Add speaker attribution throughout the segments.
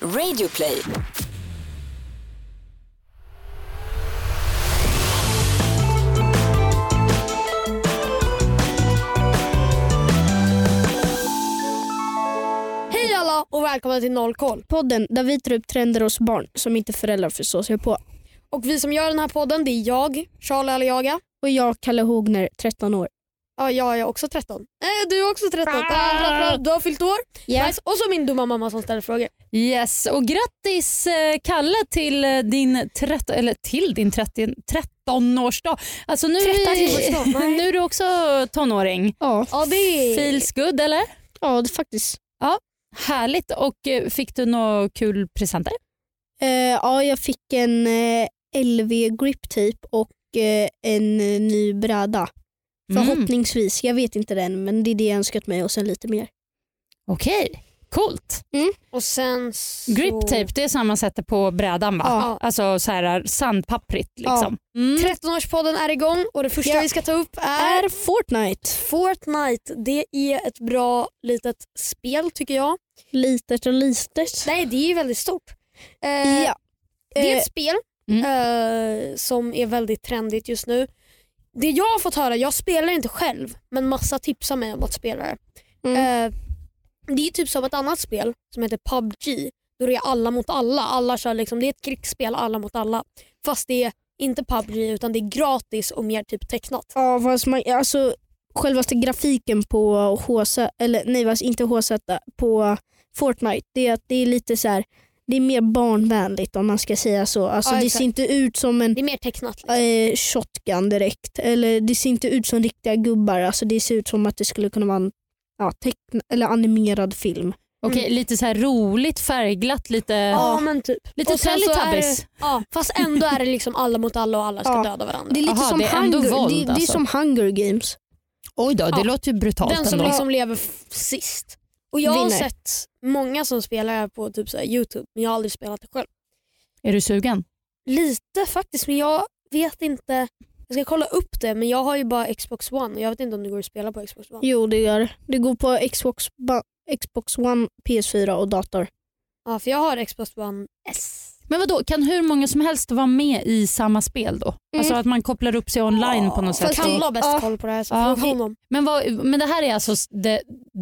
Speaker 1: Radioplay.
Speaker 2: Hej alla och välkomna till Noll koll.
Speaker 3: Podden där vi tar upp trender hos barn som inte föräldrar förstår sig på.
Speaker 2: Och vi som gör den här podden det är jag, Charlie Aliaga.
Speaker 3: Och jag, Kalle Hogner, 13 år.
Speaker 2: Ja, jag är också 13. Nej, du är också 13. Du har fyllt år. Nice. Och så min dumma mamma som ställer frågor.
Speaker 4: Yes, och grattis eh, Kalle till eh, din, trett, eller till din 30 13-årsdag. Alltså nu, är vi-
Speaker 2: 13-årsdag, nej.
Speaker 4: nu är du också tonåring.
Speaker 3: Ja,
Speaker 2: Ja, det är...
Speaker 4: Feels good eller?
Speaker 3: ja det faktiskt.
Speaker 4: Härligt. Och eh, fick du några kul presenter?
Speaker 3: Eh, ja, jag fick en eh, LV grip tape och eh, en eh, ny bräda.
Speaker 4: Mm.
Speaker 3: Förhoppningsvis. Jag vet inte den men det är det jag önskat mig och sen lite mer.
Speaker 4: Okej, coolt.
Speaker 2: Och sen så...
Speaker 4: Grip tape, Mm. det är samma man sätter på brädan va?
Speaker 2: Ja.
Speaker 4: Alltså så här sandpapprigt liksom. Mm.
Speaker 2: 13-årspodden är igång och det första
Speaker 3: Ja.
Speaker 2: vi ska ta upp är
Speaker 3: Är Fortnite
Speaker 2: Fortnite. Det är ett bra litet spel tycker jag.
Speaker 3: litet och litet?
Speaker 2: Nej, det är ju väldigt stort. Eh,
Speaker 3: Ja.
Speaker 2: Det är
Speaker 3: Eh,
Speaker 2: ett spel
Speaker 4: Mm.
Speaker 2: eh, som är väldigt trendigt just nu. Det jag har fått höra, jag spelar inte själv men massa tipsar mig om att spela det.
Speaker 3: Mm.
Speaker 2: Eh, det är typ som ett annat spel som heter PubG. Då det är alla mot alla. alla kör liksom, det är ett krigsspel alla mot alla. Fast det är inte PubG utan det är gratis och mer typ tecknat.
Speaker 3: Ja, fast man, alltså självaste grafiken på HZ, eller nej fast inte HZ, på Fortnite, det är att det är lite så här, det är mer barnvänligt om man ska säga så. Alltså
Speaker 2: Ja,
Speaker 3: det
Speaker 2: exakt.
Speaker 3: ser inte ut som en
Speaker 2: Det är mer tecknat. Liksom.
Speaker 3: eh, shotgun direkt, eller det ser inte ut som riktiga gubbar. Alltså det ser ut som att det skulle kunna vara en ja, teckna, eller animerad film.
Speaker 4: Okej, lite så här roligt färgglatt, lite,
Speaker 2: Mm. Ja men typ.
Speaker 4: lite
Speaker 2: Och sen så är
Speaker 4: Teletubbies.
Speaker 2: det- Ja, fast ändå är det liksom alla mot alla och alla ska
Speaker 3: Ja.
Speaker 2: döda varandra.
Speaker 3: Det är lite
Speaker 4: Aha,
Speaker 3: som,
Speaker 4: det är ändå
Speaker 3: Hunger,
Speaker 4: våld,
Speaker 3: det, det är
Speaker 4: alltså.
Speaker 3: som Hunger Games.
Speaker 4: Oj då,
Speaker 2: Ja.
Speaker 4: det låter ju brutalt
Speaker 2: Den som
Speaker 4: ändå.
Speaker 2: liksom lever f- sist. Och Jag har
Speaker 3: Vinner.
Speaker 2: sett många som spelar på typ så här Youtube men jag har aldrig spelat det själv.
Speaker 4: Är du sugen?
Speaker 2: Lite faktiskt men jag vet inte. Jag ska kolla upp det men jag har ju bara Xbox One och jag vet inte om det går att spela på Xbox One.
Speaker 3: Jo det gör det. Det går på Xbox, ba, Xbox One, PS4 och dator.
Speaker 2: Ja för jag har Xbox One S.
Speaker 4: Men vadå, kan hur många som helst vara med i samma spel
Speaker 2: Mm.
Speaker 4: då? Alltså att man kopplar upp sig online på något
Speaker 2: För
Speaker 4: sätt.
Speaker 2: Kalle har bäst
Speaker 3: Ja.
Speaker 2: koll på det här så
Speaker 4: Ja.
Speaker 2: fråga honom.
Speaker 4: Men, vad, men det här är alltså s- the,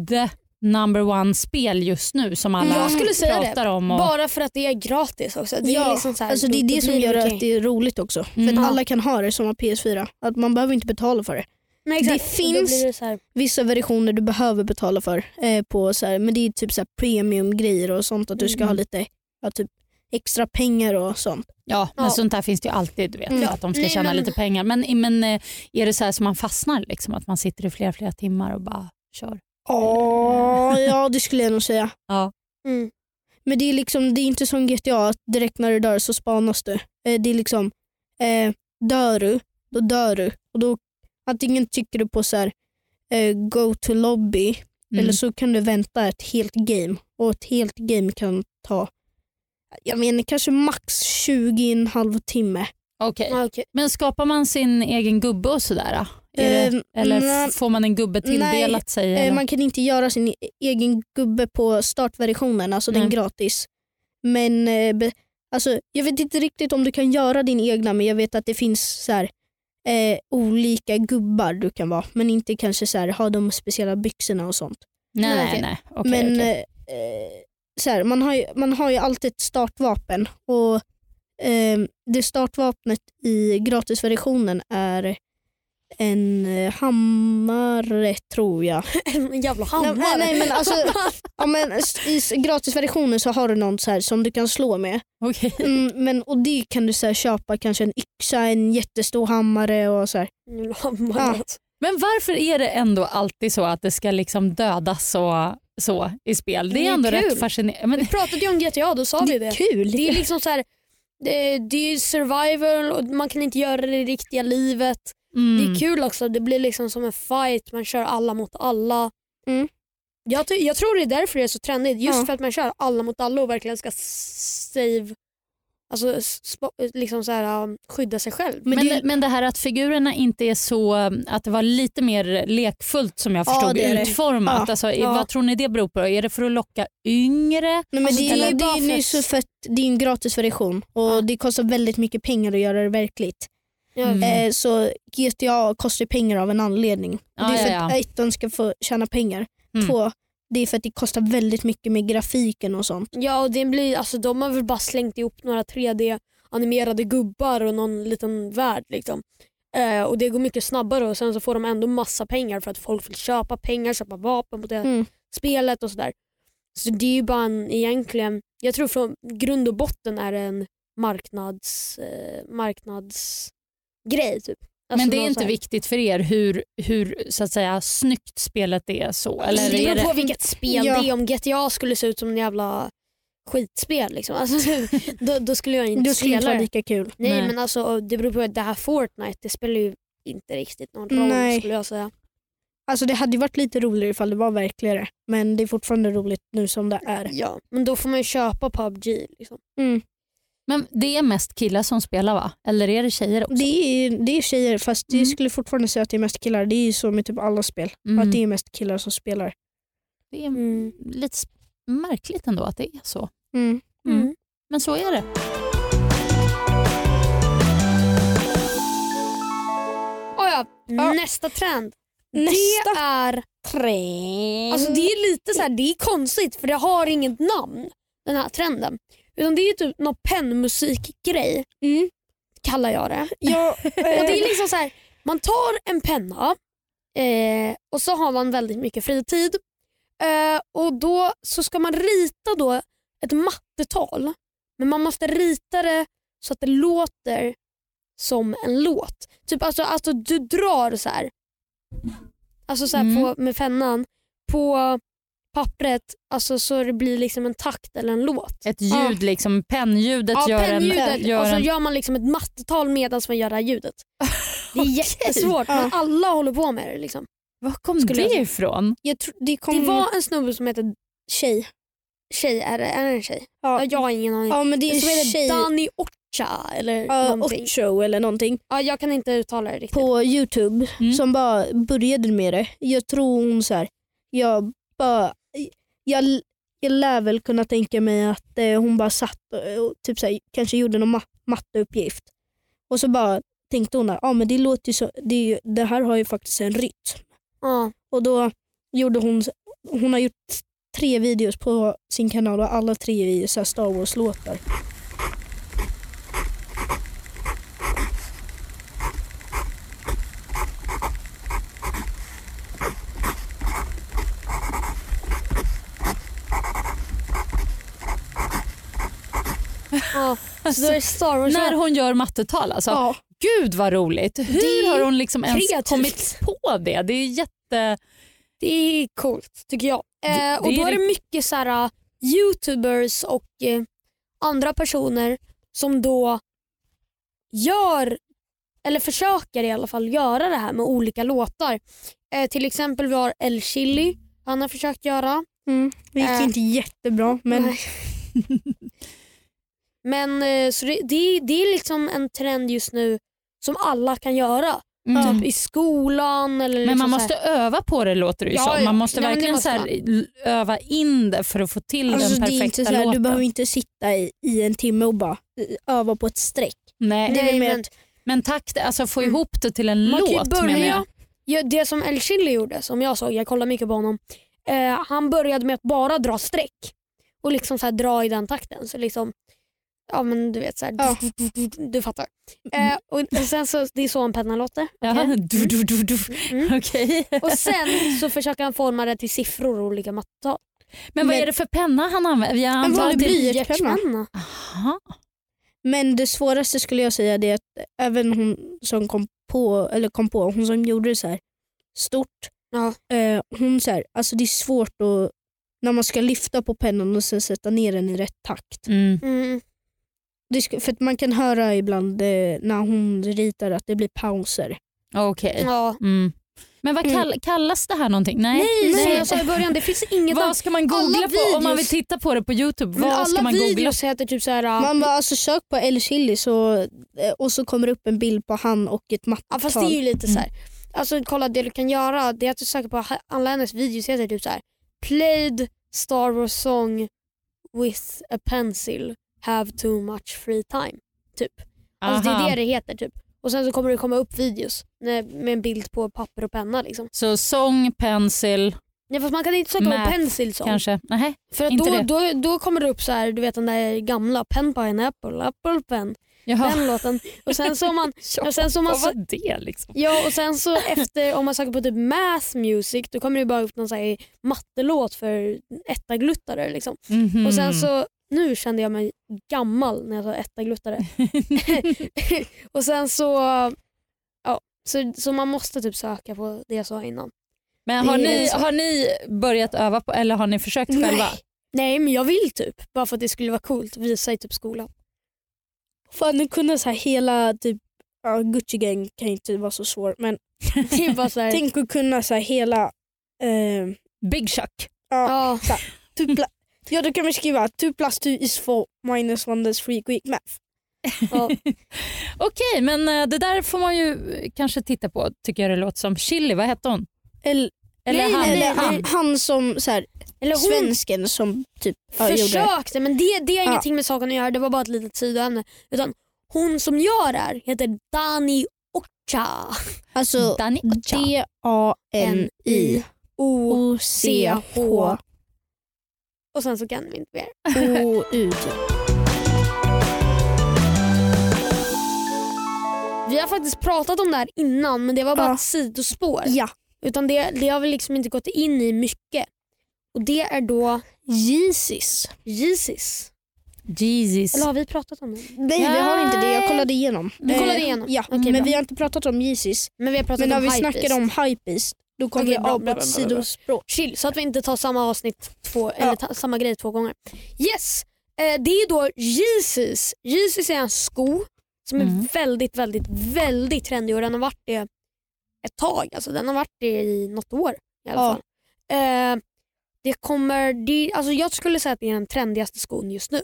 Speaker 4: the number one spel just nu som alla
Speaker 2: Jag skulle säga det.
Speaker 4: pratar om. Och,
Speaker 2: Mm. Bara för att det är gratis också. Det är, liksom så här,
Speaker 3: alltså det är
Speaker 2: då
Speaker 3: det som
Speaker 2: blir
Speaker 3: gör
Speaker 2: okej.
Speaker 3: att det är roligt också.
Speaker 4: Mm.
Speaker 3: För att alla kan ha det som har PS4. Att man behöver inte betala för det.
Speaker 2: Nej,
Speaker 3: det
Speaker 2: exakt. Då
Speaker 3: finns-
Speaker 2: blir det så här,
Speaker 3: Vissa versioner du behöver betala för, eh, på så här, men det är typ så här premiumgrejer och sånt. Att du ska
Speaker 4: Mm.
Speaker 3: ha lite ja, typ extra pengar och sånt.
Speaker 4: ja, men
Speaker 2: Ja. Mm.
Speaker 4: sånt där finns det ju alltid, du vet,
Speaker 3: Ja.
Speaker 4: att de ska
Speaker 2: Nej,
Speaker 4: tjäna
Speaker 2: men-
Speaker 4: lite pengar. Men, men eh, är det så här som man fastnar, liksom, att man sitter i flera, flera timmar och bara kör?
Speaker 3: Oh, ja, det skulle jag nog säga.
Speaker 2: mm.
Speaker 3: Men det är liksom det är inte som GTA, att direkt när du dör så spanas du. Eh, det är liksom, eh, dör du, då dör du. Och då Antingen tycker du på så här, eh, go to lobby
Speaker 4: Mm.
Speaker 3: Eller så kan du vänta ett helt game och ett helt game kan ta jag menar kanske max 20 en halv timme.
Speaker 4: Mm. Okej.
Speaker 2: ja, okej.
Speaker 4: Men skapar man sin egen gubbe och sådär? då? Är
Speaker 2: Ehm,
Speaker 4: det,
Speaker 3: Eh,
Speaker 4: eller
Speaker 3: nej.
Speaker 2: mm,
Speaker 4: f- får man en gubbe tilldelat
Speaker 3: Nej,
Speaker 4: sig?
Speaker 3: Eh,
Speaker 4: eller?
Speaker 3: Man kan inte göra sin e- egen gubbe på startversionen, alltså den
Speaker 4: Nej.
Speaker 3: gratis. Men eh, be, alltså, jag vet inte riktigt om du kan göra din egna men jag vet att det finns så här, eh, olika gubbar du kan vara men inte kanske så här, ha de speciella byxorna och sånt.
Speaker 4: nej,
Speaker 2: nej,
Speaker 4: nej,
Speaker 2: okej.
Speaker 4: nej. Okej,
Speaker 3: men
Speaker 4: okej.
Speaker 3: eh, eh, så här, man, har ju, man har ju alltid ett startvapen och eh, det startvapnet i gratisversionen är en eh, hammare tror jag.
Speaker 2: En jävla
Speaker 3: Nej,
Speaker 2: hammare.
Speaker 3: nej, nej, men alltså, ja, men s- I s- gratisversionen så har du någon så här som du kan slå med.
Speaker 4: Okej.
Speaker 3: Mm, men, och Det kan du så här, köpa kanske en yxa, en jättestor hammare och så här.
Speaker 2: En jävla hammare.
Speaker 4: Men varför är det ändå alltid så att det ska liksom dödas och så i spel? Det
Speaker 2: Det
Speaker 4: är
Speaker 2: är
Speaker 4: ändå
Speaker 2: kul.
Speaker 4: rätt fascinerande.
Speaker 2: Vi
Speaker 4: Men,
Speaker 2: pratade ju om GTA, då sa vi det.
Speaker 3: Kul!
Speaker 2: Det är liksom så här, det, det är survival och man kan inte göra det i riktiga livet.
Speaker 4: mm.
Speaker 2: Det är kul också, det blir liksom som en fight, man kör alla mot alla.
Speaker 3: Mm.
Speaker 2: Jag, ty- jag tror det är därför det är så trendigt, just
Speaker 3: Ja.
Speaker 2: för att man kör alla mot alla och verkligen ska s- save Alltså, s- sp- liksom så här, um, skydda sig själv.
Speaker 3: Men
Speaker 4: Men,
Speaker 3: det-
Speaker 4: men det här att figurerna inte är så, att det var lite mer lekfullt som jag
Speaker 3: Ja,
Speaker 4: förstod
Speaker 3: det är det.
Speaker 4: utformat.
Speaker 3: Ja,
Speaker 4: alltså, i-
Speaker 2: ja.
Speaker 4: Vad tror ni det beror på? Är det för att locka yngre?
Speaker 3: Nej, men
Speaker 2: Alltså,
Speaker 3: det,
Speaker 2: eller
Speaker 3: är, ju- det,
Speaker 2: bara
Speaker 3: är ju
Speaker 2: för-
Speaker 3: nyss för att det är en gratisversion och
Speaker 2: Ja.
Speaker 3: det kostar väldigt mycket pengar att göra det verkligt.
Speaker 2: Ja,
Speaker 4: Mm.
Speaker 3: Eh, så GTA kostar ju pengar av en anledning.
Speaker 4: Ja,
Speaker 3: det är för
Speaker 4: ja,
Speaker 3: att
Speaker 4: ja.
Speaker 3: ett, de ska få tjäna pengar.
Speaker 4: Mm.
Speaker 3: Två, det är för att det kostar väldigt mycket med grafiken och sånt.
Speaker 2: Ja, och det blir, alltså, de har väl bara slängt ihop några 3D-animerade gubbar och någon liten värld. Liksom. Eh, och Det går mycket snabbare och sen så får de ändå massa pengar för att folk vill köpa pengar, köpa vapen på det
Speaker 3: Mm.
Speaker 2: spelet och sådär. Så det är ju bara en, egentligen, jag tror från grund och botten är det en marknads, eh, marknadsgrej. Typ. Alltså
Speaker 4: men det är
Speaker 2: någon
Speaker 4: inte
Speaker 2: så här-
Speaker 4: viktigt för er hur, hur så att säga, snyggt spelet är så? Eller
Speaker 2: det
Speaker 4: är
Speaker 2: beror
Speaker 4: det...
Speaker 2: på vilket spel
Speaker 3: Ja.
Speaker 2: det är. Om GTA skulle se ut som en jävla skitspel, liksom. alltså, då, då skulle jag inte
Speaker 3: Det skulle inte
Speaker 2: spela
Speaker 3: vara
Speaker 2: det.
Speaker 3: lika kul.
Speaker 2: Nej,
Speaker 4: Nej.
Speaker 2: men alltså, det beror på att det här Fortnite det spelar ju inte riktigt någon roll
Speaker 3: Nej.
Speaker 2: skulle jag säga.
Speaker 3: Alltså det hade ju varit lite roligare ifall det var verkligare men det är fortfarande roligt nu som det är.
Speaker 2: Ja. Men då får man ju köpa PubG. Liksom.
Speaker 4: Mm. Men det är mest killar som spelar va? Eller är det tjejer också?
Speaker 3: Det är, det är tjejer fast
Speaker 4: Mm.
Speaker 3: jag skulle fortfarande säga att det är mest killar. Det är ju så med typ alla spel.
Speaker 4: Mm.
Speaker 3: Att det är mest killar som spelar.
Speaker 4: det är lite s- märkligt ändå att det är så.
Speaker 3: Mm.
Speaker 4: Mm.
Speaker 2: Mm.
Speaker 4: Men så är det.
Speaker 2: Oh, ja.
Speaker 3: Ja.
Speaker 2: Nästa trend. Det
Speaker 3: Nästa
Speaker 2: är,
Speaker 3: trend.
Speaker 2: alltså, det är lite så här, det är konstigt för det har inget namn, den här trenden. Utan Det är typ någon pennmusikgrej,
Speaker 3: Mm.
Speaker 2: kallar jag det.
Speaker 3: Ja, eh,
Speaker 2: Och det är liksom så här, man tar en penna eh, och så har man väldigt mycket fritid. Eh, och Då så ska man rita då ett mattetal men man måste rita det så att det låter som en låt. Typ alltså, alltså du drar så här. Alltså så här
Speaker 4: Mm.
Speaker 2: på, med pennan på pappret alltså så det blir liksom en takt eller en låt.
Speaker 4: Ett
Speaker 3: Ja.
Speaker 4: ljud, liksom pennljudet
Speaker 2: Ja,
Speaker 4: gör
Speaker 2: pennljudet
Speaker 4: en... Gör
Speaker 2: och så
Speaker 4: en
Speaker 2: gör man liksom ett mattetal medan man gör det här ljudet. Det är jättesvårt
Speaker 3: Ja.
Speaker 2: men alla håller på med det. Liksom.
Speaker 4: var kom
Speaker 2: skulle jag
Speaker 4: det
Speaker 2: säga.
Speaker 4: ifrån?
Speaker 3: jag tror det
Speaker 2: Det
Speaker 3: kom...
Speaker 2: var en snubbe som heter Tjej. Tjej, är det, är det en tjej? Ja.
Speaker 3: ja,
Speaker 2: Jag har ingen aning.
Speaker 3: ja, men det är en
Speaker 2: Som heter
Speaker 3: tjej.
Speaker 2: Dani Orcha eller
Speaker 3: Ja,
Speaker 2: någonting.
Speaker 3: Ocho eller någonting
Speaker 2: Ja, jag kan inte uttala det riktigt.
Speaker 3: på Youtube
Speaker 4: Mm.
Speaker 3: som bara började med det. Jag tror hon så här, jag bara, jag, jag lär väl kunna tänka mig att eh, hon bara satt och, och typ så här, kanske gjorde någon ma- matteuppgift och så bara tänkte hon att ah, men det låter ju så, det, är ju, det här har ju faktiskt en rytm.
Speaker 2: Ja.
Speaker 3: Och då gjorde hon, hon har gjort tre videos på sin kanal och alla tre är så här Star Wars-låtar.
Speaker 2: Ja. Så då är det Star Wars.
Speaker 4: Alltså, När hon gör mattetal alltså.
Speaker 3: Ja.
Speaker 4: Gud vad roligt. Hur
Speaker 2: Det är
Speaker 4: har hon liksom ens
Speaker 2: kreativt.
Speaker 4: kommit på det? Det är jätte...
Speaker 2: Det är coolt tycker jag.
Speaker 4: Det-
Speaker 2: eh, och
Speaker 4: det
Speaker 2: Då
Speaker 4: är
Speaker 2: är det mycket så här, eh, youtubers och eh, andra personer som då gör, eller försöker i alla fall göra det här med olika låtar. Eh, till exempel vi har El Chili, han har försökt göra.
Speaker 3: Det gick
Speaker 2: Eh.
Speaker 3: inte jättebra men
Speaker 2: Nej. Men eh, så det, det, är- det är liksom en trend just nu som alla kan göra.
Speaker 4: Mm.
Speaker 2: Typ i skolan eller
Speaker 4: Men
Speaker 2: liksom
Speaker 4: man
Speaker 2: så här-
Speaker 4: måste öva på det låter det ju
Speaker 2: Ja,
Speaker 4: som.
Speaker 2: ja.
Speaker 4: Man måste
Speaker 2: Nej, men det
Speaker 4: verkligen
Speaker 2: måste
Speaker 4: så här, l- öva in det för att få till
Speaker 3: Alltså,
Speaker 4: den
Speaker 3: det är
Speaker 4: perfekta
Speaker 3: inte så här,
Speaker 4: låten.
Speaker 3: du behöver inte sitta i, i en timme och bara eh, öva på ett streck.
Speaker 4: Nej,
Speaker 3: Det är
Speaker 2: Nej,
Speaker 3: väl mer
Speaker 2: men-
Speaker 3: att
Speaker 4: men takt, alltså få
Speaker 2: Mm.
Speaker 4: ihop det till en
Speaker 2: Man kan ju
Speaker 4: låt
Speaker 2: börja-
Speaker 4: menar jag.
Speaker 2: Ja, det som El Chili gjorde, som jag såg, jag kollade mycket på honom. Eh, han började med att bara dra streck och liksom så här dra i den takten. Så liksom, ja men du vet så här,
Speaker 3: Ja.
Speaker 2: du fattar. Eh, och och sen så, det är så en penna låter.
Speaker 4: Jaha, du, du, du, du.
Speaker 2: Mm.
Speaker 4: Okej.
Speaker 2: Och sen så försöker han forma det till siffror och olika mattetal.
Speaker 4: Men vad
Speaker 3: Men-
Speaker 4: är det för penna han använder? Jag
Speaker 3: Men vad
Speaker 4: antar
Speaker 3: det
Speaker 4: att det...
Speaker 3: blir-
Speaker 2: blyertspenna?
Speaker 4: Aha.
Speaker 3: Men det svåraste skulle jag säga det är att även hon som kom på, eller kom på, hon som gjorde det så här stort,
Speaker 2: Ja.
Speaker 3: eh, hon så här, alltså det är svårt att, när man ska lyfta på pennan och sen sätta ner den i rätt takt.
Speaker 4: Mm.
Speaker 2: Mm.
Speaker 3: Det ska, för att man kan höra ibland eh, när hon ritar att det blir pauser.
Speaker 4: Okej.
Speaker 2: Ja.
Speaker 4: Mm. Men vad kall, kallas det här någonting? Nej,
Speaker 2: Nej, som jag sa i början, det finns inget
Speaker 4: Vad
Speaker 2: annat.
Speaker 4: ska man googla
Speaker 2: alla
Speaker 4: på om man
Speaker 2: videos-
Speaker 4: vill titta på det på Youtube?
Speaker 2: Men
Speaker 4: Vad
Speaker 2: alla
Speaker 4: ska man googla?
Speaker 2: videos heter typ så här...
Speaker 3: Man bara alltså, sök på El Chili så, eh, och så kommer det upp en bild på han och ett
Speaker 2: ja,
Speaker 3: mattal.
Speaker 2: fast det är ju lite så här.
Speaker 4: Mm.
Speaker 2: Alltså kolla det du kan göra det är att du söker på alla hennes videos heter typ så här. Played Star Wars song with a pencil. Have too much free time. Typ. Alltså, det är
Speaker 4: Aha.
Speaker 2: det det heter typ. Och sen så kommer det komma upp videos när- med en bild på papper och penna. Liksom.
Speaker 4: Så sång, pensel
Speaker 2: Ja, fast man kan inte söka
Speaker 4: Math,
Speaker 2: på pencil song.
Speaker 4: kanske? Nej.
Speaker 2: För att
Speaker 4: Inte
Speaker 2: då,
Speaker 4: det.
Speaker 2: då, då kommer det upp så här, du vet den där gamla pen pineapple, apple pen,
Speaker 4: Jaha.
Speaker 2: den låten. Och sen så om man, och sen så om man
Speaker 4: Vad var det liksom?
Speaker 2: Ja och sen så efter om man söker på typ math music då kommer det bara upp någon så här mattelåt för ettagluttare. Liksom.
Speaker 4: Mhm.
Speaker 2: Och
Speaker 3: Mm.
Speaker 2: sen så, nu kände jag mig gammal när jag sa ettagluttare. och sen så, ja, så, så man måste typ söka på det jag sa innan.
Speaker 4: Men har
Speaker 2: Det är
Speaker 4: ni,
Speaker 2: så.
Speaker 4: har ni börjat öva på, eller har ni försökt
Speaker 2: Nej.
Speaker 4: själva?
Speaker 2: Nej men jag vill typ, bara för att det skulle vara coolt visa i typ skolan.
Speaker 3: Fan, nu kunde så här hela typ, ja, Gucci Gang kan ju inte vara så svår men
Speaker 2: Det är bara så här,
Speaker 3: tänk att kunna så här, hela eh,
Speaker 4: Big Chuck.
Speaker 2: ja,
Speaker 3: tupla, typ Ja då kan man skriva 2 plus 2 is 4 minus 1 is 3 quick math.
Speaker 2: ja.
Speaker 4: Okej, men eh, det där får man ju eh, kanske titta på tycker jag det låter som. Chili, vad hette hon?
Speaker 3: Eller,
Speaker 4: Eller han?
Speaker 2: nej.
Speaker 3: eller han, han som så här,
Speaker 2: Eller hon
Speaker 3: svensken som typ ja, gjorde
Speaker 2: försökte men det, det har
Speaker 3: Ja.
Speaker 2: ingenting med saken att göra. Det var bara ett litet sidoämne. Utan hon som gör det här heter Dani Ocha.
Speaker 3: alltså
Speaker 4: Danny Ocha.
Speaker 3: D-A-N-I-O-C-H
Speaker 2: Och sen så kan vi inte mer.
Speaker 3: O-U.
Speaker 2: Vi har faktiskt pratat om det här innan men det var bara
Speaker 3: Ja.
Speaker 2: ett sidospår.
Speaker 3: Ja.
Speaker 2: Utan det, det har vi liksom inte gått in i mycket. Och Det är då
Speaker 3: Jesus.
Speaker 2: Jesus.
Speaker 4: Jesus.
Speaker 2: Eller har vi pratat om det?
Speaker 3: Nej, vi har inte det. Jag kollade igenom.
Speaker 2: Du
Speaker 3: Eh,
Speaker 2: kollade igenom?
Speaker 3: Ja,
Speaker 2: Okej,
Speaker 3: men
Speaker 2: bra.
Speaker 3: vi har inte pratat om Jesus.
Speaker 2: Men vi har pratat
Speaker 3: Men när
Speaker 2: om
Speaker 3: vi
Speaker 2: hypebeast.
Speaker 3: snackar om Hypebeast då kommer
Speaker 2: Okej,
Speaker 3: vi
Speaker 2: bra,
Speaker 3: av på
Speaker 2: bra, bra,
Speaker 3: ett
Speaker 2: bra, bra.
Speaker 3: sidospråk.
Speaker 2: Chill så att vi inte tar samma avsnitt två,
Speaker 3: Ja.
Speaker 2: eller ta, samma grej två gånger. Yes, eh, det är då Jesus. Jesus är en sko som
Speaker 4: Mm.
Speaker 2: är väldigt, väldigt, väldigt trendig och den har varit det ett tag. Alltså, den har varit det i något år i alla
Speaker 3: Ja.
Speaker 2: fall. Eh, det kommer, det, alltså jag skulle säga att det är den trendigaste skon just nu.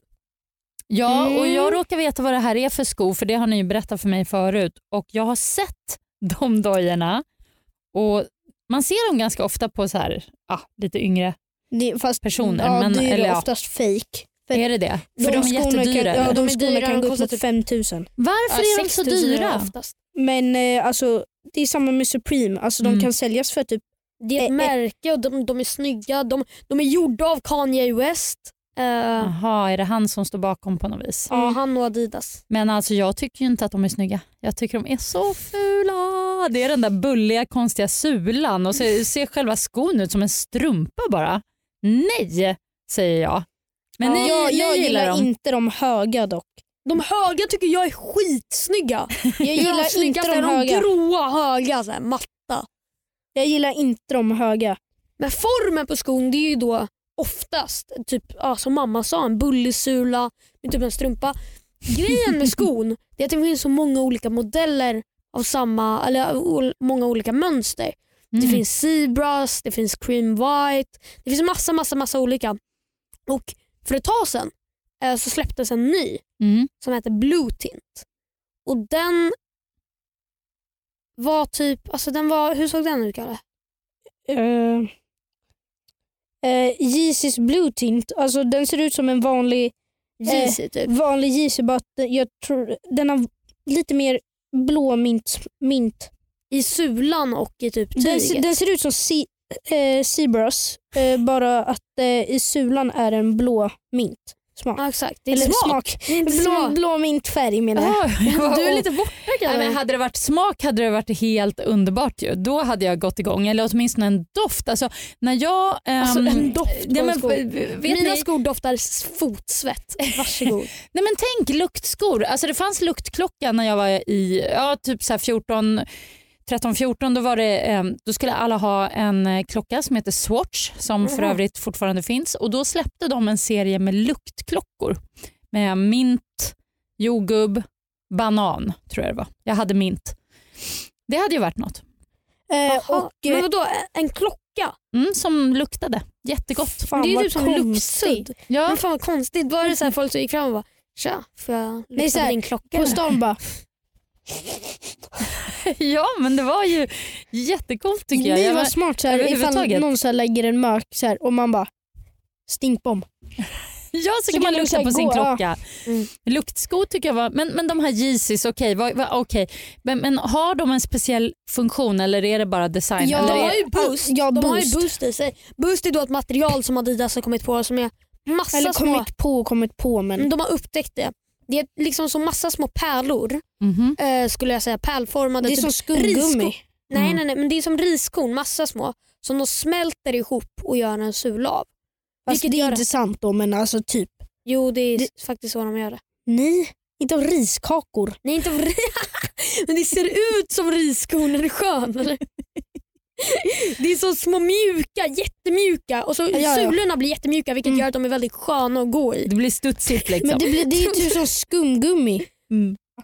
Speaker 4: Ja, och
Speaker 3: Mm.
Speaker 4: jag råkar veta vad det här är för sko för det har ni ju berättat för mig förut och jag har sett de dojorna och man ser dem ganska ofta på så här, ah, lite yngre
Speaker 3: Det, fast,
Speaker 4: personer.
Speaker 3: ja,
Speaker 4: men,
Speaker 3: det är
Speaker 4: eller,
Speaker 3: ju
Speaker 4: ja,
Speaker 3: oftast fake. för-
Speaker 4: är det det? För de, är
Speaker 3: skorna
Speaker 4: jättedyra.
Speaker 3: Kan, ja,
Speaker 4: eller?
Speaker 2: De
Speaker 3: de,
Speaker 2: är
Speaker 3: skorna
Speaker 2: dyra,
Speaker 3: kan
Speaker 2: de
Speaker 3: gå upp
Speaker 2: kostar
Speaker 3: mot
Speaker 2: typ-
Speaker 3: 5000.
Speaker 4: Varför är de så
Speaker 2: 6 000 är
Speaker 4: dyra?
Speaker 2: Oftast.
Speaker 3: Men eh, alltså, det är samma med Supreme. Alltså,
Speaker 4: Mm.
Speaker 3: De kan säljas för typ...
Speaker 2: Det är ett
Speaker 3: Eh, eh.
Speaker 2: märke och de, de är snygga. De, de är gjorda av Kanye West. Eh,
Speaker 4: Jaha, är det han som står bakom på något vis?
Speaker 2: ja, han och Adidas.
Speaker 4: Men alltså jag tycker ju inte att de är snygga. Jag tycker de är så fula. Det är den där bulliga konstiga sulan och så ser själva skon ut som en strumpa bara. Nej, säger jag. Men ni,
Speaker 3: jag,
Speaker 4: ni
Speaker 3: jag
Speaker 4: gillar dem.
Speaker 3: inte de höga dock.
Speaker 2: De höga tycker jag är skitsnygga.
Speaker 3: Jag
Speaker 2: de
Speaker 3: gillar inte
Speaker 2: snyggaste
Speaker 3: de
Speaker 2: är
Speaker 3: höga.
Speaker 2: gråa höga. Så här, matt.
Speaker 3: Jag gillar inte de höga.
Speaker 2: Men formen på skon det är ju då oftast, typ, ja, som mamma sa, en bullisula med typ en strumpa. Grejen med skon det är att det finns så många olika modeller av samma, eller ol- många olika mönster. Det
Speaker 4: Mm.
Speaker 2: finns Zebras, det finns Cream White. Det finns massa, massa, massa olika. Och För ett tag sedan eh, så släpptes en ny
Speaker 4: Mm.
Speaker 2: som heter Blue Tint. Och den var typ, alltså den var, hur såg den ut
Speaker 3: Eh.
Speaker 2: Kalle?
Speaker 3: Uh, Jesus Blue Tint, eh, alltså, den ser ut som en vanlig
Speaker 2: Yeezy typ.
Speaker 3: vanlig Yeezy bara att den- jag tror den har lite mer blå mint. mint.
Speaker 2: I sulan och i typ
Speaker 3: Den,
Speaker 2: tyget.
Speaker 3: se- den ser ut som si, eh, Zebras, eh, bara att eh, i sulan är en blå mint. Smak.
Speaker 2: ja, exakt, Ah, det är
Speaker 3: Eller
Speaker 2: smak.
Speaker 3: Blå,
Speaker 2: Blå.
Speaker 3: blå mintfärg menar jag.
Speaker 4: Oj, jag var-
Speaker 2: Du är lite borta
Speaker 4: Ah, Nej, men
Speaker 2: Kalle.
Speaker 4: hade det varit smak hade det varit helt underbart. Ju. Då hade jag gått igång, eller åtminstone en doft. Alltså, när jag, ehm,
Speaker 2: Alltså, en doft på
Speaker 4: nej,
Speaker 2: en
Speaker 4: men,
Speaker 2: sko.
Speaker 4: vet
Speaker 2: Mina
Speaker 4: ni,
Speaker 2: skor doftar s- fotsvett. Varsågod.
Speaker 4: nej, men tänk luktskor. Alltså, det fanns luktklocka när jag var i ja, typ så här 14, 13, 14. Då, var det, ehm, då skulle alla ha en eh, klocka som heter Swatch som för
Speaker 2: Mhm.
Speaker 4: övrigt fortfarande finns. Och Då släppte de en serie med luktklockor med mint, jordgubb, banan tror jag det var. Jag hade mint. Det hade ju varit något.
Speaker 3: Eh,
Speaker 2: Jaha,
Speaker 3: och, eh,
Speaker 2: Men vadå, en klocka?
Speaker 4: Mm, som luktade jättegott.
Speaker 3: fan,
Speaker 2: det är ju
Speaker 3: vad
Speaker 2: typ som
Speaker 3: konstigt.
Speaker 2: luktsudd.
Speaker 4: Ja.
Speaker 2: Men fan vad konstigt. Var det så här folk som gick fram och bara “tja, får jag
Speaker 3: så
Speaker 2: lukta
Speaker 3: här,
Speaker 2: på din klocka?”
Speaker 3: På stan bara,
Speaker 4: ja, men det var ju jättegott tycker jag.
Speaker 3: ni
Speaker 4: jag
Speaker 3: var
Speaker 4: var-
Speaker 3: smart så här, ifall
Speaker 4: överhuvudtaget.
Speaker 3: någon så här lägger en mök så här, och man bara stinkbomb.
Speaker 4: Ja, så,
Speaker 3: Så
Speaker 4: kan
Speaker 3: kan
Speaker 4: man
Speaker 3: du
Speaker 4: lukta
Speaker 3: säga
Speaker 4: på sin
Speaker 3: gå, ja.
Speaker 4: klocka.
Speaker 2: Mm.
Speaker 4: Luktskor tycker jag var... Men, men de här Yeezys, okej. vad- vad- okej. Men, men har de en speciell funktion eller är det bara design?
Speaker 3: Ja,
Speaker 4: eller
Speaker 2: de
Speaker 4: är,
Speaker 2: har ju boost.
Speaker 3: Ja,
Speaker 2: de har
Speaker 3: boost.
Speaker 2: ju boost i sig. Boost är då ett material som Adidas har kommit på som är massa
Speaker 3: Eller
Speaker 2: små...
Speaker 3: kommit på och kommit på men
Speaker 2: Mm, De har upptäckt det. Det är liksom så massa små pärlor,
Speaker 4: Mhm.
Speaker 2: eh, skulle jag säga. Pärlformade.
Speaker 3: det är
Speaker 2: typ
Speaker 3: som
Speaker 2: riskorn.
Speaker 3: skumgummi.
Speaker 2: Nej,
Speaker 4: Mm.
Speaker 2: nej, nej, men det är som riskorn, massa små, som de smälter ihop och gör en sula av.
Speaker 3: Fast
Speaker 2: Vilket
Speaker 3: det är
Speaker 2: gör-
Speaker 3: inte sant då men alltså typ
Speaker 2: Jo, det är
Speaker 3: Det-
Speaker 2: faktiskt så de gör det.
Speaker 3: nej, inte av riskakor.
Speaker 2: Nej, inte av ris. men det ser ut som riskorn. Är du skön eller? Det är så små mjuka, jättemjuka och så
Speaker 3: Ja, ja.
Speaker 2: sulorna blir jättemjuka vilket
Speaker 3: Mm.
Speaker 2: gör att de är väldigt sköna att gå i.
Speaker 4: Det blir studsigt liksom.
Speaker 3: Men det, blir, det är typ som skumgummi.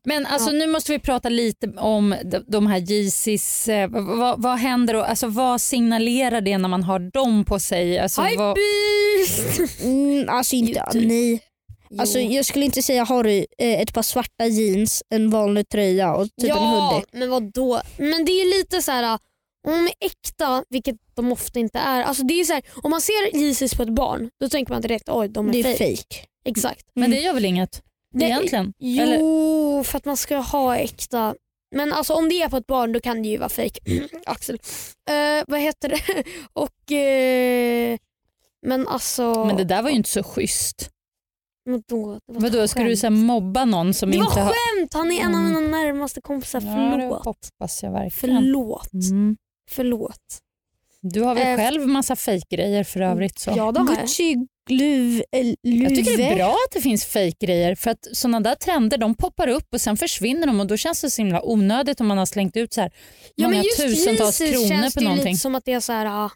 Speaker 4: Men alltså, nu måste vi prata lite om de, de här Yeezys. Eh, vad, vad, vad händer och alltså, vad signalerar det när man har dem på sig? Alltså,
Speaker 2: mm.
Speaker 4: vad,
Speaker 2: Hypebeast!
Speaker 3: Mm, alltså inte,
Speaker 2: Jo, typ.
Speaker 3: nej. Alltså,
Speaker 2: Jo.
Speaker 3: jag skulle inte säga har du eh, ett par svarta jeans, en vanlig tröja och typ en hoodie.
Speaker 2: ja, men vad då? Men det är lite så här om de är äkta, vilket de ofta inte är. Alltså det är så här, om man ser Jesus på ett barn, då tänker man direkt oj de är,
Speaker 3: Det
Speaker 2: fake.
Speaker 3: är fake.
Speaker 2: Exakt.
Speaker 4: men det gör väl inget
Speaker 2: Det-
Speaker 4: egentligen?
Speaker 2: Jo,
Speaker 4: Eller-
Speaker 2: för att man ska ha äkta. Men alltså om det är på ett barn då kan det ju vara fejk. Axel. Eh, vad heter det? Och... eh, men alltså...
Speaker 4: Men det där var ju inte så schysst.
Speaker 2: Vadå? Det var ett
Speaker 4: Vadå, ska du
Speaker 2: skämt.
Speaker 4: så här, mobba någon som
Speaker 2: Det var
Speaker 4: inte har...
Speaker 2: skämt! Han är en av
Speaker 4: Mm.
Speaker 2: mina närmaste kompisar.
Speaker 4: Ja,
Speaker 2: Förlåt.
Speaker 4: det hoppas jag verkligen.
Speaker 2: Förlåt.
Speaker 4: Mm.
Speaker 2: Förlåt.
Speaker 4: Du har väl
Speaker 2: Eh,
Speaker 4: själv massa fejkgrejer för övrigt? Så.
Speaker 2: Ja, det har jag.
Speaker 3: Gucci luv, eh, luve.
Speaker 4: Jag tycker det är bra att det finns fejkgrejer för att sådana där trender de poppar upp och sen försvinner de och då känns det så himla onödigt om man har slängt ut så här
Speaker 2: Ja,
Speaker 4: många
Speaker 2: men just
Speaker 4: tusentals
Speaker 2: Jesus
Speaker 4: kronor
Speaker 2: känns
Speaker 4: på
Speaker 2: det ju
Speaker 4: någonting.
Speaker 2: lite som att det är så här... ah,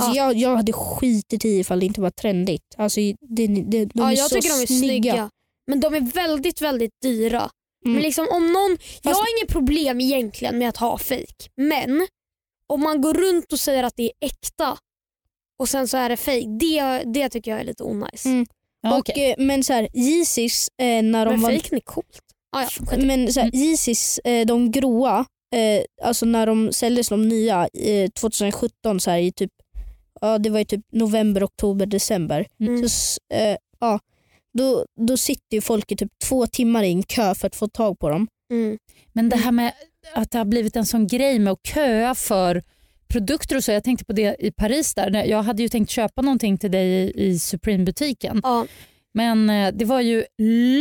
Speaker 3: Alltså, jag, jag hade skitit i ifall det inte var trendigt. Alltså, det, det, de
Speaker 2: ja,
Speaker 3: är
Speaker 2: ah, jag
Speaker 3: så
Speaker 2: tycker de är snygga. Men de är väldigt, väldigt dyra.
Speaker 4: Mm.
Speaker 2: Men liksom om någon, Jag har inget problem egentligen med att ha fake men om man går runt och säger att det är äkta och sen så är det fake det, det tycker jag är lite onajs.
Speaker 3: Mm.
Speaker 4: Ja,
Speaker 3: och,
Speaker 4: okej.
Speaker 3: eh, men så här, Yeezys, eh, när de
Speaker 2: Men
Speaker 3: var...
Speaker 2: fejken är coolt. Ah, ja, skit.
Speaker 3: Men så här, Yeezys, eh, de gråa, eh, alltså när de såldes de nya eh, 2017, så här, i typ, ja, det var i typ november, oktober, december.
Speaker 2: Mm.
Speaker 3: Så, s- eh, ja, då, då sitter ju folk i typ två timmar i en kö för att få tag på dem.
Speaker 2: Mm.
Speaker 4: Men det här med att det har blivit en sån grej med att köa för produkter och så. Jag tänkte på det i Paris där. När- Jag hade ju tänkt köpa någonting till dig i, i Supreme-butiken.
Speaker 2: Ja.
Speaker 4: Men eh, det var ju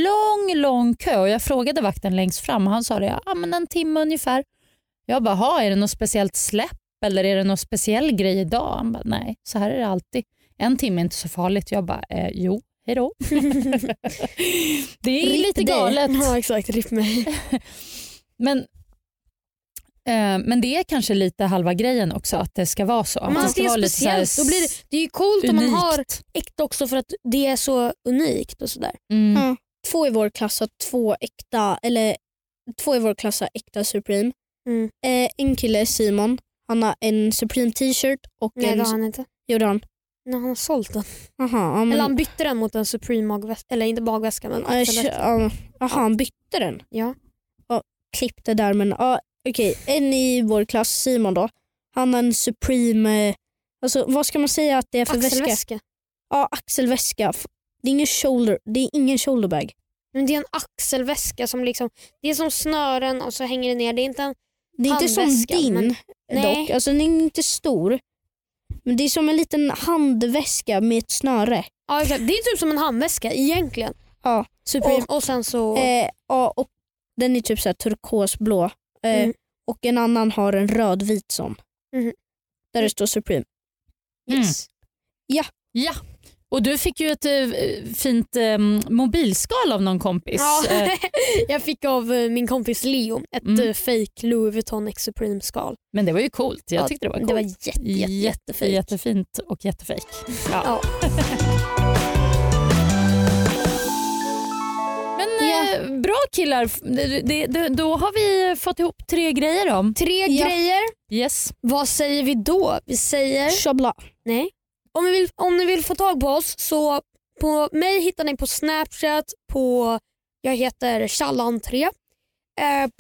Speaker 4: lång, lång kö och jag frågade vakten längst fram och han sa det, ja men en timme ungefär. Jag bara, "Ha, är det något speciellt släpp eller är det någon speciell grej idag? Han bara, nej, så här är det alltid. En timme är inte så farligt. Jag bara, eh, jo, hejdå. det är
Speaker 3: Rip
Speaker 4: lite
Speaker 3: dig.
Speaker 4: galet.
Speaker 2: ja exakt, ripp mig.
Speaker 4: Men, eh, men det är kanske lite halva grejen också att det ska vara så. Att
Speaker 2: Man
Speaker 4: det
Speaker 2: ska
Speaker 4: ska
Speaker 2: ju
Speaker 4: vara lite så här
Speaker 2: speciellt. Då blir det, det är ju coolt om man
Speaker 4: unikt.
Speaker 2: har äkta också för att det är så unikt och sådär.
Speaker 4: Mm.
Speaker 3: Ja. Två i vår klass har två äkta, eller två i vår klass har äkta Supreme.
Speaker 2: Mm.
Speaker 3: Eh, en kille, Simon, han har en Supreme t-shirt och
Speaker 2: Nej det
Speaker 3: en...
Speaker 2: har han inte.
Speaker 3: Gjorde han?
Speaker 2: Nej, han har sålt den.
Speaker 3: Aha,
Speaker 4: Mm.
Speaker 3: ja, men-
Speaker 2: Eller han bytte den mot en Supreme magväska, eller inte magväska men
Speaker 3: Ja, jag kö-
Speaker 2: axelväska.
Speaker 3: ja. Jaha, han bytte den?
Speaker 2: Ja.
Speaker 3: ja klipp det där men ja, okej. En i vår klass, Simon då. Han har en Supreme, eh, alltså, vad ska man säga att det är för väska?
Speaker 2: Axelväska.
Speaker 3: Ja, axelväska. F- Det är ingen shoulder, det är ingen shoulderbag.
Speaker 2: Men det är en axelväska som liksom, det är som snören och så hänger det ner. Det är inte en,
Speaker 3: Det är inte som
Speaker 2: Handväska,
Speaker 3: din
Speaker 2: men-
Speaker 3: dock,
Speaker 2: Nej.
Speaker 3: alltså den är inte stor. Men det är som en liten handväska med ett snöre.
Speaker 2: ja, exakt. det är typ som en handväska egentligen.
Speaker 3: Ja.
Speaker 2: Supreme. Och, sen så,
Speaker 3: Eh, ja, och den är typ så här turkosblå. Eh,
Speaker 2: Mm.
Speaker 3: Och en annan har en rödvit sån.
Speaker 2: Mhm.
Speaker 3: Där det står Supreme.
Speaker 2: yes.
Speaker 4: Ja. Och du fick ju ett eh, fint eh, mobilskal av någon kompis. Eh,
Speaker 2: Ja. jag fick av eh, min kompis Leo ett
Speaker 4: Mm.
Speaker 2: mm. fake Louis Vuitton X Supreme skal.
Speaker 4: men det var ju coolt. Jag
Speaker 2: Ja,
Speaker 4: tyckte det var coolt.
Speaker 2: Det var jätte, jätte,
Speaker 4: Jätte,
Speaker 2: jättefint.
Speaker 4: jättefint och jättefejk. Ja.
Speaker 2: Ja.
Speaker 4: Men eh, bra killar. F- det- det- det- Då har vi fått ihop tre grejer om.
Speaker 2: Tre
Speaker 3: Ja.
Speaker 2: grejer.
Speaker 4: Yes.
Speaker 2: Vad säger vi då? Vi säger...
Speaker 3: Tjabla.
Speaker 2: Nej. Om ni, vill, om ni vill få tag på oss så på mig hittar ni på Snapchat på jag heter challan3. Eh,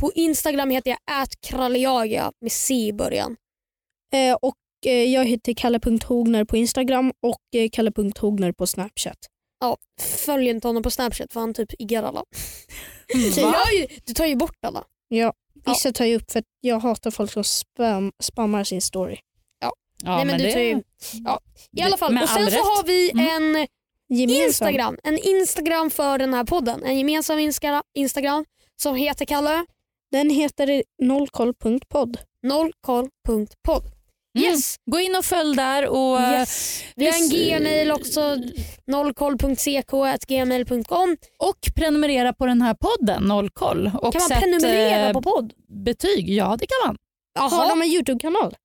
Speaker 2: på Instagram heter jag atkraljaga med C i början.
Speaker 3: Eh, och eh, jag heter kalle.hogner på Instagram och eh, kalle.hogner på Snapchat.
Speaker 2: Ja, följ inte honom på Snapchat för han typ iggar alla. Så
Speaker 4: Mm, Va?
Speaker 2: jag, är ju- du tar ju bort alla.
Speaker 3: Ja, vissa tar jag upp för att jag hatar folk som spam, spammar sin story.
Speaker 4: Ja,
Speaker 2: Nej, men du tar ju- ja. I alla fall,
Speaker 4: Med
Speaker 2: och sen
Speaker 4: all
Speaker 2: så
Speaker 4: rätt. Mm.
Speaker 2: har vi en
Speaker 3: Gemensam.
Speaker 2: Instagram. En Instagram för den här podden. En gemensam inska- Instagram som heter Kalle
Speaker 3: Den heter nollkoll.podd.
Speaker 2: nollkoll.podd.
Speaker 4: Mm.
Speaker 2: Yes.
Speaker 4: Gå in och följ där. Och, eh,
Speaker 2: Vi har en
Speaker 4: Yes.
Speaker 2: gmail också. nollkoll.ck.gmail.com.
Speaker 4: och prenumerera på den här podden Nollkoll. Och
Speaker 2: Kan man
Speaker 4: sätt,
Speaker 2: prenumerera
Speaker 4: eh,
Speaker 2: på podd?
Speaker 4: betyg? Ja, det kan man.
Speaker 3: Har
Speaker 2: Jaha.
Speaker 3: de en Youtube-kanal?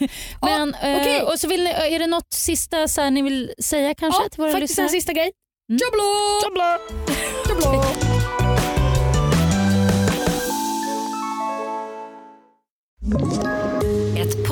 Speaker 2: Ja,
Speaker 4: Men, eh,
Speaker 2: okej.
Speaker 4: och så vill ni, är det något sista så här, ni vill säga kanske
Speaker 2: Ja,
Speaker 4: till våra
Speaker 2: faktiskt
Speaker 4: lyssnare?
Speaker 2: en sista grej.
Speaker 4: Mm.
Speaker 2: Tjablå!
Speaker 3: Tjabla!
Speaker 2: Tjablå!
Speaker 1: Ett